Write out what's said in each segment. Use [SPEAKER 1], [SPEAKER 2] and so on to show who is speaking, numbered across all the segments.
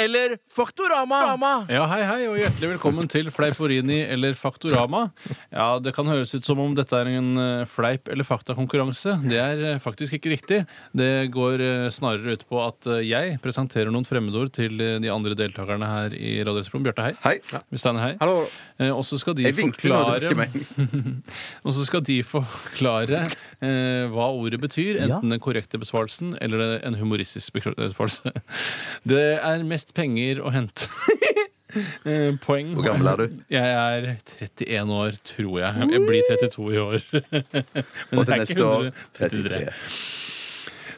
[SPEAKER 1] eller Faktorama?
[SPEAKER 2] Ja, hei, hei, og hjertelig velkommen til Fleiporini eller Faktorama. Ja, det kan høres ut som om dette er en eh, fleip- eller faktakonkurranse. Det er eh, faktisk ikke riktig. Det går eh, snarere ut på at eh, jeg presenterer noen fremmedord til eh, de andre deltakerne her i Radioresepsjonen. Bjarte, hei.
[SPEAKER 3] Hei.
[SPEAKER 2] Steiner, hei.
[SPEAKER 3] Hallo.
[SPEAKER 2] Eh, Og så skal de
[SPEAKER 3] Jeg vinket nå, det var
[SPEAKER 2] forklare
[SPEAKER 3] ikke meg.
[SPEAKER 2] Og så skal de forklare eh, hva ordet betyr, enten den korrekte besvarelsen eller en humoristisk bekra- besvarelse. Det er mest penger å hente. Eh, Poeng.
[SPEAKER 3] Hvor gammel er du?
[SPEAKER 2] Jeg er 31 år, tror jeg. Jeg blir 32 i år. Men det
[SPEAKER 3] Og til
[SPEAKER 2] er
[SPEAKER 3] neste
[SPEAKER 2] ikke
[SPEAKER 3] år
[SPEAKER 2] 133.
[SPEAKER 3] 33.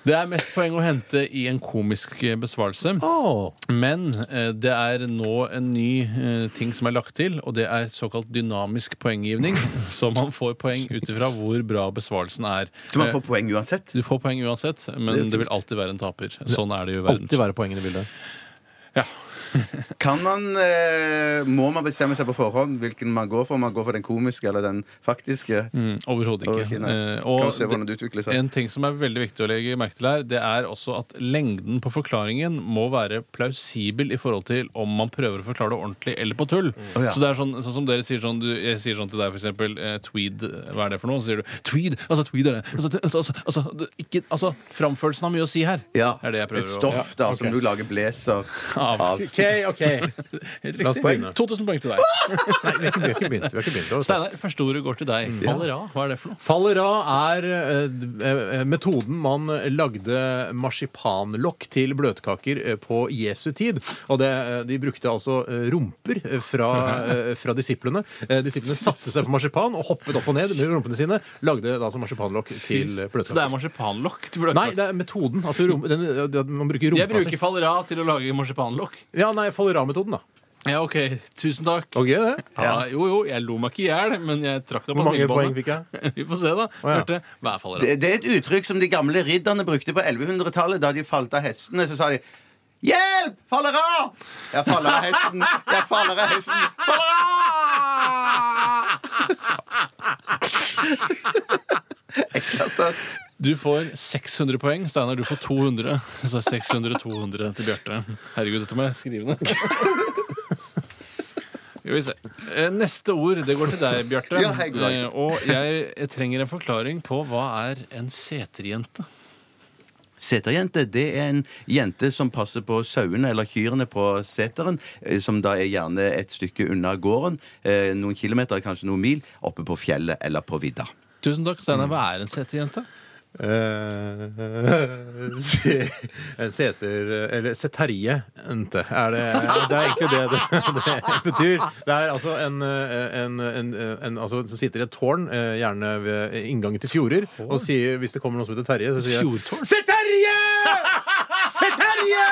[SPEAKER 2] Det er mest poeng å hente i en komisk eh, besvarelse. Men eh, det er nå en ny eh, ting som er lagt til, og det er såkalt dynamisk poenggivning. Så man får poeng ut ifra hvor bra besvarelsen er.
[SPEAKER 3] Så man får poeng uansett?
[SPEAKER 2] Du får poeng uansett, men det, vil alltid være en taper. Sånn er det jo i verden.
[SPEAKER 4] Alltid være poengene i bildet.
[SPEAKER 2] Ja.
[SPEAKER 3] Kan man, eh, Må man bestemme seg på forhånd hvilken man går for? Om man går for den komiske eller den faktiske?
[SPEAKER 2] Mm, Overhodet ikke.
[SPEAKER 3] Ok, nei.
[SPEAKER 2] Eh,
[SPEAKER 3] Kan vi se hvordan det utvikler seg?
[SPEAKER 2] En ting som er veldig viktig å legge merke til her, det er også at lengden på forklaringen må være plausibel i forhold til om man prøver å forklare det ordentlig eller på tull. Så det er sånn, sånn som dere sier sånn, du, Jeg sier sånn til deg, for eksempel eh, tweed, hva er det for noe? Så sier du tweed! Altså, tweed er det. Altså, det- altså, altså, altså, det- ikke, altså framførelsen har mye å si her.
[SPEAKER 3] Ja.
[SPEAKER 2] Er det jeg prøver
[SPEAKER 3] Et
[SPEAKER 2] å-
[SPEAKER 3] stoff da, som
[SPEAKER 4] ok.
[SPEAKER 3] du lager blazer
[SPEAKER 2] Av.
[SPEAKER 3] av.
[SPEAKER 4] OK, OK.
[SPEAKER 2] Riktig.
[SPEAKER 4] La oss begynne.
[SPEAKER 2] 2000 poeng til deg.
[SPEAKER 4] Nei, vi har ikke vi har ikke begynt. Vi har ikke begynt. Det var
[SPEAKER 2] Steinar,
[SPEAKER 4] fest.
[SPEAKER 2] første ordet går til deg. Faller av. Hva er det for noe?
[SPEAKER 4] Faller av er eh, d- eh, metoden man lagde marsipanlokk til bløtkaker eh, på Jesu tid. Og det, eh, de brukte altså eh, rumper eh, fra, eh, fra disiplene. Eh, Disiplene satte seg på marsipan og hoppet opp og ned med rumpene sine. Lagde da altså marsipanlokk til eh,
[SPEAKER 2] Så det er
[SPEAKER 4] bløtkaker.
[SPEAKER 2] marsipanlokk? til bløtkake.
[SPEAKER 4] Nei, det er metoden. Altså, rum, den, den- man bruker
[SPEAKER 2] Jeg
[SPEAKER 4] rumpa
[SPEAKER 2] bruker faller av til å lage marsipanlokk.
[SPEAKER 4] Ja, nei, faller av-metoden, da.
[SPEAKER 2] Ja, OK. Tusen takk.
[SPEAKER 4] Ok, det.
[SPEAKER 2] Ja, jo, jo, jeg lo meg ikke i hjel, men jeg trakk deg på
[SPEAKER 4] Hvor mange poeng
[SPEAKER 2] smilebåndet.
[SPEAKER 4] fikk jeg?
[SPEAKER 2] Vi får se, da.
[SPEAKER 4] ja.
[SPEAKER 2] Hørte, hva er faller av?
[SPEAKER 3] Det, det er et uttrykk som de gamle ridderne brukte på 1100-tallet. Da de falt av hestene, så sa de Hjelp! Faller av! Jeg faller av hesten. Jeg faller av hesten. Faller av! Jeg klarte at-
[SPEAKER 2] Du får 600 poeng. Steinar, du får 200. Så 600-200 til Bjarte. Herregud, dette må jeg skrive ned. Skal vi se. Eh, Neste ord, det går til deg, Bjarte.
[SPEAKER 3] Ja, hei, god dag.
[SPEAKER 2] Eh, Og jeg trenger en forklaring på hva er en seterjente.
[SPEAKER 3] Seterjente det er en jente som passer på sauene eller kyrne på seteren, eh, som da er gjerne et stykke unna gården, eh, noen kilometer, kanskje noen mil, oppe på fjellet eller på vidda.
[SPEAKER 2] Tusen takk. Steinar, hva er en seterjente?
[SPEAKER 4] Eh, se- Seter Eller seterje ente. Er det, det er egentlig det det, det betyr. Det er altså en, eh, en, en, en altså, som sitter i et tårn, eh, gjerne ved inngangen til fjorder, og sier, hvis det kommer noen som heter Terje, så sier jeg
[SPEAKER 2] Fjordtårn?
[SPEAKER 4] Se Terje! Se Terje!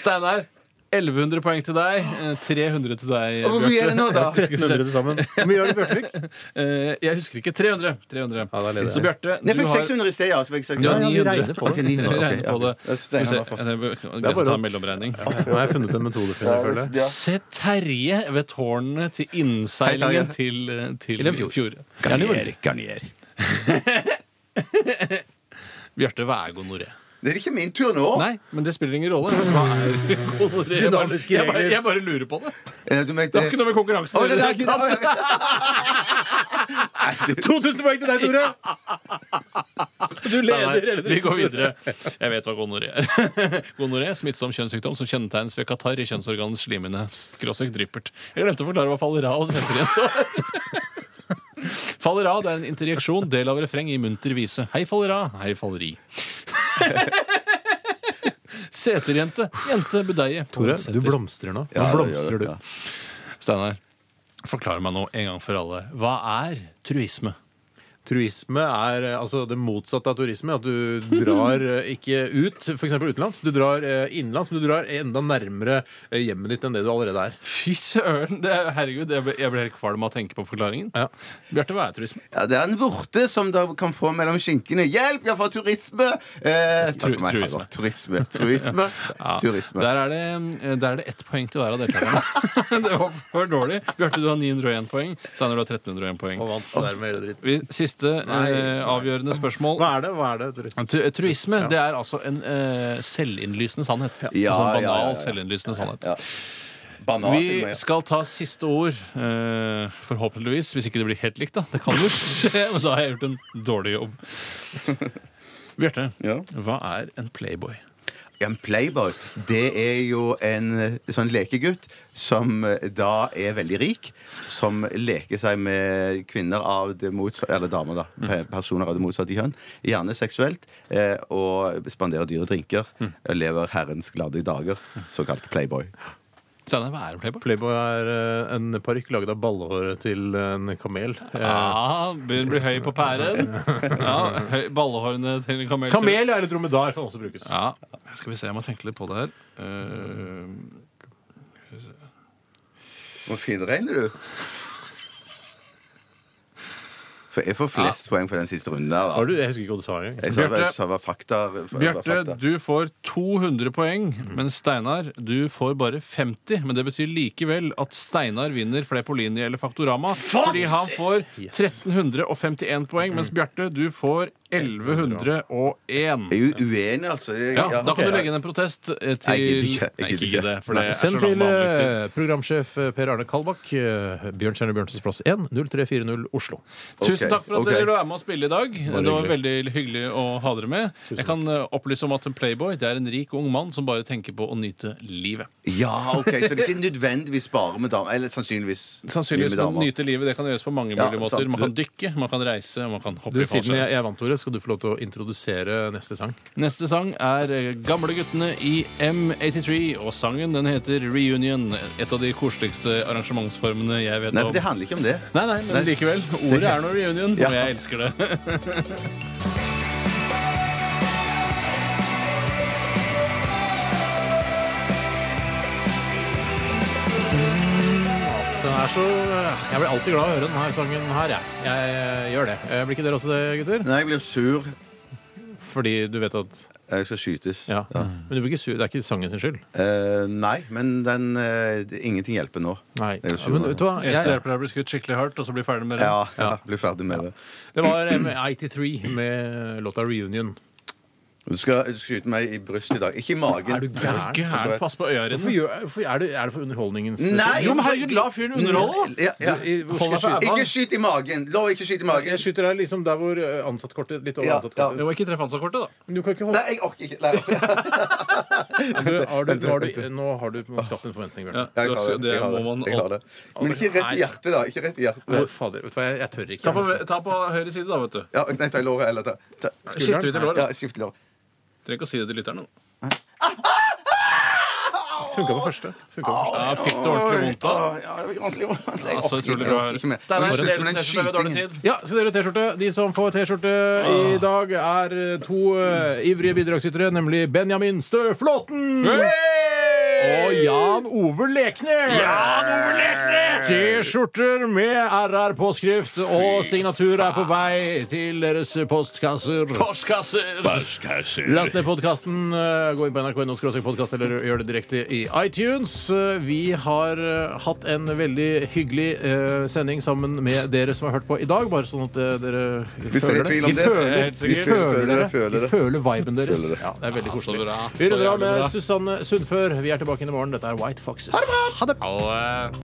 [SPEAKER 2] Steinar, 1100 poeng til deg. eh, 300 til deg,
[SPEAKER 3] Hvor mye er det nå, da?
[SPEAKER 2] Skal vi se.
[SPEAKER 4] Nuller det sammen. Hvor mye har du Bjørtvik?
[SPEAKER 2] Eh, jeg husker ikke. 300. 300.
[SPEAKER 4] Ja, da leder jeg.
[SPEAKER 2] så Bjarte, du
[SPEAKER 3] Nei, jeg fikk
[SPEAKER 2] har
[SPEAKER 3] 600 i sted, ja. Så fikk jeg
[SPEAKER 2] Ja,
[SPEAKER 3] 600.
[SPEAKER 2] vi
[SPEAKER 3] Ja,
[SPEAKER 2] regner
[SPEAKER 4] på det.
[SPEAKER 3] Ok, 900, ok,
[SPEAKER 2] regner på
[SPEAKER 3] ja.
[SPEAKER 2] det. Skal vi se.
[SPEAKER 3] Steinar var først.
[SPEAKER 2] Det er greit å
[SPEAKER 4] bare
[SPEAKER 2] ta
[SPEAKER 4] å-
[SPEAKER 2] en mellomregning.
[SPEAKER 4] Nå har jeg funnet en metode, Finn. Jeg føler.
[SPEAKER 3] Ja.
[SPEAKER 2] Se Terje ved tårnene til
[SPEAKER 3] Hei,
[SPEAKER 2] innseilingen
[SPEAKER 3] Terje.
[SPEAKER 2] til, eh, til
[SPEAKER 4] Til en fjord.
[SPEAKER 2] fjord.
[SPEAKER 3] Garnier. Garnier.
[SPEAKER 2] Bjarte, hva er gonoré?
[SPEAKER 3] Det er ikke min tur nå.
[SPEAKER 2] Nei, men det spiller ingen rolle. Hva er gonoré? Jeg bare,
[SPEAKER 4] Dynamiske
[SPEAKER 2] jeg, bare,
[SPEAKER 4] regler.
[SPEAKER 2] jeg bare lurer på det.
[SPEAKER 3] Eh, Du mente
[SPEAKER 2] Det har ikke noe med konkurransen
[SPEAKER 3] Å,
[SPEAKER 2] å
[SPEAKER 3] det er
[SPEAKER 2] gjøre.
[SPEAKER 3] ikke det.
[SPEAKER 4] 2000 poeng til deg, Tore! Du leder.
[SPEAKER 2] Steinar, Vi går videre. Jeg vet hva gonoré er. Gonoré, smittsom kjønnssykdom som kjennetegnes ved katarr i kjønnsorganets slimene. Skråsek dryppert. Jeg glemte å forklare hva fallerad heter igjen. Fallerad er en interjeksjon, del av refreng i munter vise. Hei, fallerad. Hei, falleri. Seterjente. Jente, budeie.
[SPEAKER 4] Tore, du
[SPEAKER 2] Seter.
[SPEAKER 4] blomstrer nå. Nå
[SPEAKER 3] Ja, det gjør
[SPEAKER 4] blomstrer
[SPEAKER 3] det,
[SPEAKER 4] du.
[SPEAKER 3] ja.
[SPEAKER 2] Steinar, forklar meg nå en gang for alle. Hva er truisme?
[SPEAKER 4] Truisme er eh, altså det motsatte av turisme. At du drar eh, ikke ut, f.eks. utenlands. Du drar eh, innenlands, men du drar enda nærmere eh, hjemmet ditt enn det du allerede er.
[SPEAKER 2] Fy søren! Det er, herregud, jeg ble, jeg ble helt kvalm av å tenke på forklaringen.
[SPEAKER 4] Ja.
[SPEAKER 2] Bjarte, hva er turisme?
[SPEAKER 3] Ja, det er en vorte som da kan få mellom skinkene. Hjelp, jeg får turisme! Eh, takk for meg,
[SPEAKER 2] truisme.
[SPEAKER 3] Halvor. Turisme. Turisme.
[SPEAKER 2] Ja,
[SPEAKER 3] turisme.
[SPEAKER 2] Der, er det, eh, der er det ett poeng til hver av deltakerne. det var for dårlig. Bjarte, du har 901 poeng. Steinar, du har 1301 poeng.
[SPEAKER 4] Og vant det der med hele dritten.
[SPEAKER 2] Vi, siste eh, avgjørende spørsmål.
[SPEAKER 4] Hva er det? Hva er det? Truisme?
[SPEAKER 2] Tu- Truisme det er altså en eh, selvinnlysende sannhet.
[SPEAKER 3] Ja,
[SPEAKER 2] en sånn banal,
[SPEAKER 3] ja, ja, ja.
[SPEAKER 2] selvinnlysende sannhet.
[SPEAKER 3] Ja. Banan til
[SPEAKER 2] Vi
[SPEAKER 3] meg.
[SPEAKER 2] skal ta siste ord, eh, forhåpentligvis. Hvis ikke det blir helt likt, da. Det kan jo skje, men da har jeg gjort en dårlig jobb. Bjarte,
[SPEAKER 3] Ja.
[SPEAKER 2] hva er en playboy?
[SPEAKER 3] En playboy, det er jo en eh, sånn lekegutt som eh, da er veldig rik, som leker seg med kvinner av det motsatte Eller damer, da.
[SPEAKER 2] Mm.
[SPEAKER 3] pe- Personer av det motsatte kjønn. Gjerne seksuelt. eh, Og spanderer dyre drinker.
[SPEAKER 2] Mm.
[SPEAKER 3] Og lever herrens glade dager. Såkalt playboy.
[SPEAKER 2] Steinar, hva er en playboy?
[SPEAKER 4] Playboy er eh, en parykk laget av ballehåret til en kamel. Eh,
[SPEAKER 2] Ja, Begynner å bli høy på pæren. Ja, høy, Ballehårene til en kamel.
[SPEAKER 4] Kamel eller dromedar kan også brukes.
[SPEAKER 2] Ja, Skal vi se, jeg må tenke litt på det her. Eh,
[SPEAKER 3] Hvor finregner du? For jeg får flest poeng på den siste runden der.
[SPEAKER 4] Har
[SPEAKER 3] da.
[SPEAKER 4] du, jeg husker ikke hva du sa engang.
[SPEAKER 3] Jeg sa hva-
[SPEAKER 2] Bjarte-
[SPEAKER 3] sa hva fakta hva
[SPEAKER 2] Bjarte,
[SPEAKER 3] fakta.
[SPEAKER 2] du får 200 poeng, men Steinar, du får bare 50. Men det betyr likevel at Steinar vinner Fleipolini eller Faktorama. Fordi han får 1351 poeng, mens Bjarte, du får 1101.
[SPEAKER 3] Jeg er jo uenig, altså. Jeg-
[SPEAKER 2] Ja, da
[SPEAKER 4] ok.
[SPEAKER 2] kan du legge inn en protest eh, til
[SPEAKER 3] Nei, jeg gidder ikke. Jeg
[SPEAKER 2] Nei, ikke
[SPEAKER 3] gidder ikke.
[SPEAKER 2] gidd det, for det er så
[SPEAKER 4] Send
[SPEAKER 2] lang
[SPEAKER 4] til
[SPEAKER 2] behandlingstid.
[SPEAKER 4] eh, programsjef eh, Per Arne Kalbakk, eh, Bjørn Kjerne Bjørnsens plass 1, 0340 Oslo.
[SPEAKER 2] Tusen
[SPEAKER 3] Ok,
[SPEAKER 2] takk for at
[SPEAKER 3] ok.
[SPEAKER 2] dere ville være med og spille i dag. Det var veldig hyggelig å ha dere med. Jeg kan eh, opplyse om at en playboy det er en rik ung mann som bare tenker på å nyte livet.
[SPEAKER 3] Ja, ok, Så det er ikke nødvendigvis bare med damer? Eller sannsynligvis
[SPEAKER 2] Sannsynligvis
[SPEAKER 3] med
[SPEAKER 2] man
[SPEAKER 3] damer.
[SPEAKER 2] nyter livet. Det kan gjøres på mange
[SPEAKER 3] Ja,
[SPEAKER 2] mulige måter.
[SPEAKER 3] sant.
[SPEAKER 2] Man kan dykke, man kan reise, man kan hoppe
[SPEAKER 4] Du,
[SPEAKER 2] i
[SPEAKER 4] siden jeg,
[SPEAKER 2] fallskjerm.
[SPEAKER 4] jeg vant ordet, skal du få lov til å introdusere neste sang.
[SPEAKER 2] Neste sang er eh, Gamleguttene i M83, og sangen den heter Reunion. Et av de koseligste arrangementsformene jeg vet
[SPEAKER 3] Nei, for
[SPEAKER 2] om.
[SPEAKER 3] det handler ikke om det.
[SPEAKER 2] Nei, nei, men likevel. Ordet er nå reunion,
[SPEAKER 3] Ja.
[SPEAKER 2] og jeg elsker det.
[SPEAKER 4] Den er så, eh, jeg blir alltid glad av å høre denne sangen her, jeg. Jeg eh, gjør det. Eh, Blir ikke dere også det, gutter?
[SPEAKER 3] Nei, jeg blir sur.
[SPEAKER 4] Fordi du vet at
[SPEAKER 3] Jeg skal skytes.
[SPEAKER 4] Ja. Men du blir ikke sur. Det er ikke sangen sin skyld.
[SPEAKER 3] Eh, nei, men den eh, det- Ingenting hjelper nå.
[SPEAKER 4] Nei.
[SPEAKER 3] Jeg er sur
[SPEAKER 4] Ja, men
[SPEAKER 3] nå.
[SPEAKER 4] vet du hva?
[SPEAKER 2] Jeg
[SPEAKER 4] Jeg,
[SPEAKER 2] hjelper deg å bli skutt skikkelig hardt, og så bli ferdig med det.
[SPEAKER 3] Ja, ja. Bli ferdig med det.
[SPEAKER 4] det var M83 med låta 'Reunion'.
[SPEAKER 3] Du skal, du skal skyte meg i brystet i dag. Ikke i magen.
[SPEAKER 4] Er du gæren?
[SPEAKER 2] Gæren, pass på
[SPEAKER 4] Hvorfor
[SPEAKER 2] øyerene.
[SPEAKER 4] gjør, hvorfor er, det, er det for underholdningens
[SPEAKER 3] Nei!
[SPEAKER 2] Jo, men herregud, la fyren underholde, da!
[SPEAKER 3] Ja, ja.
[SPEAKER 4] I- hvor skal
[SPEAKER 2] Hold deg
[SPEAKER 4] jeg
[SPEAKER 2] for
[SPEAKER 4] skyte?
[SPEAKER 3] Ikke skyt i magen! Lov ikke skyte i magen.
[SPEAKER 4] Jeg skyter deg liksom der hvor eh, ansattkortet Litt over
[SPEAKER 3] Ja,
[SPEAKER 4] ansattkortet.
[SPEAKER 2] Det var ikke treff ansvarskortet, da.
[SPEAKER 4] Men du kan ikke holde
[SPEAKER 3] Nei, jeg orker ikke. Nei.
[SPEAKER 4] du, har du, nå har du, Nå har du på en måte skapt en forventning, Bjørn.
[SPEAKER 3] Jeg
[SPEAKER 2] det,
[SPEAKER 3] har det,
[SPEAKER 2] det
[SPEAKER 3] jeg har
[SPEAKER 2] må
[SPEAKER 3] det,
[SPEAKER 2] man
[SPEAKER 3] jeg har det. Men ikke rett i hjertet, da. Ikke rett i
[SPEAKER 4] Å,
[SPEAKER 3] hjertet.
[SPEAKER 4] fader, vet du hva, jeg, jeg tør
[SPEAKER 2] Ta
[SPEAKER 4] ikke.
[SPEAKER 2] på, ta på høyre side, da, vet du.
[SPEAKER 3] Ja, nei, ta i låret. Eller ta, ta.
[SPEAKER 2] Skifter vi til lår.
[SPEAKER 3] Ja,
[SPEAKER 2] da.
[SPEAKER 3] skift lår.
[SPEAKER 2] Trenger ikke å si det til lytteren. da.
[SPEAKER 4] Funka på første. Funket på første.
[SPEAKER 2] Ja, fikk du ordentlig vondt da?
[SPEAKER 3] Åh, ja, ordentlig vondt. Altså, Jeg
[SPEAKER 2] Ja, så
[SPEAKER 3] orker
[SPEAKER 2] utrolig
[SPEAKER 3] ikke, jeg
[SPEAKER 2] bra.
[SPEAKER 3] orker ikke mer.
[SPEAKER 2] Steinar,
[SPEAKER 3] Unnskyld,
[SPEAKER 2] det
[SPEAKER 3] men den
[SPEAKER 2] er dårlig
[SPEAKER 3] skytingen-
[SPEAKER 2] tid.
[SPEAKER 4] Ja, så dere T-skjorte. De som får T-skjorte i dag, er to eh, ivrige bidragsytere, nemlig Benjamin Støflåten og Jan Ove Leknes. T-skjorter med RR-påskrift og signatur er på vei til deres postkasser.
[SPEAKER 2] Postkasser!
[SPEAKER 4] Last ned podkasten. Gå inn på nrk.no podkast eller gjør det direkte i iTunes. Eh, Vi har eh, hatt en veldig hyggelig eh, sending sammen med dere som har hørt på i dag. Bare sånn at eh, dere
[SPEAKER 3] Hvis dere er i tvil om
[SPEAKER 4] Vi
[SPEAKER 3] det,
[SPEAKER 4] føler,
[SPEAKER 2] helt
[SPEAKER 4] vi
[SPEAKER 2] sikkert.
[SPEAKER 4] føler,
[SPEAKER 3] Føler
[SPEAKER 4] dere.
[SPEAKER 3] det, føler
[SPEAKER 4] Vi
[SPEAKER 3] det.
[SPEAKER 4] føler viben deres.
[SPEAKER 3] Føler det.
[SPEAKER 4] Ja, det er veldig
[SPEAKER 2] Så
[SPEAKER 4] koselig.
[SPEAKER 2] bra.
[SPEAKER 4] Vi
[SPEAKER 2] Så
[SPEAKER 4] runder
[SPEAKER 2] jævlig
[SPEAKER 4] av med
[SPEAKER 2] bra.
[SPEAKER 4] Susanne Sundfør. Vi er tilbake inn i morgen. Dette er White Foxes. Ha det bra!
[SPEAKER 2] Og, eh,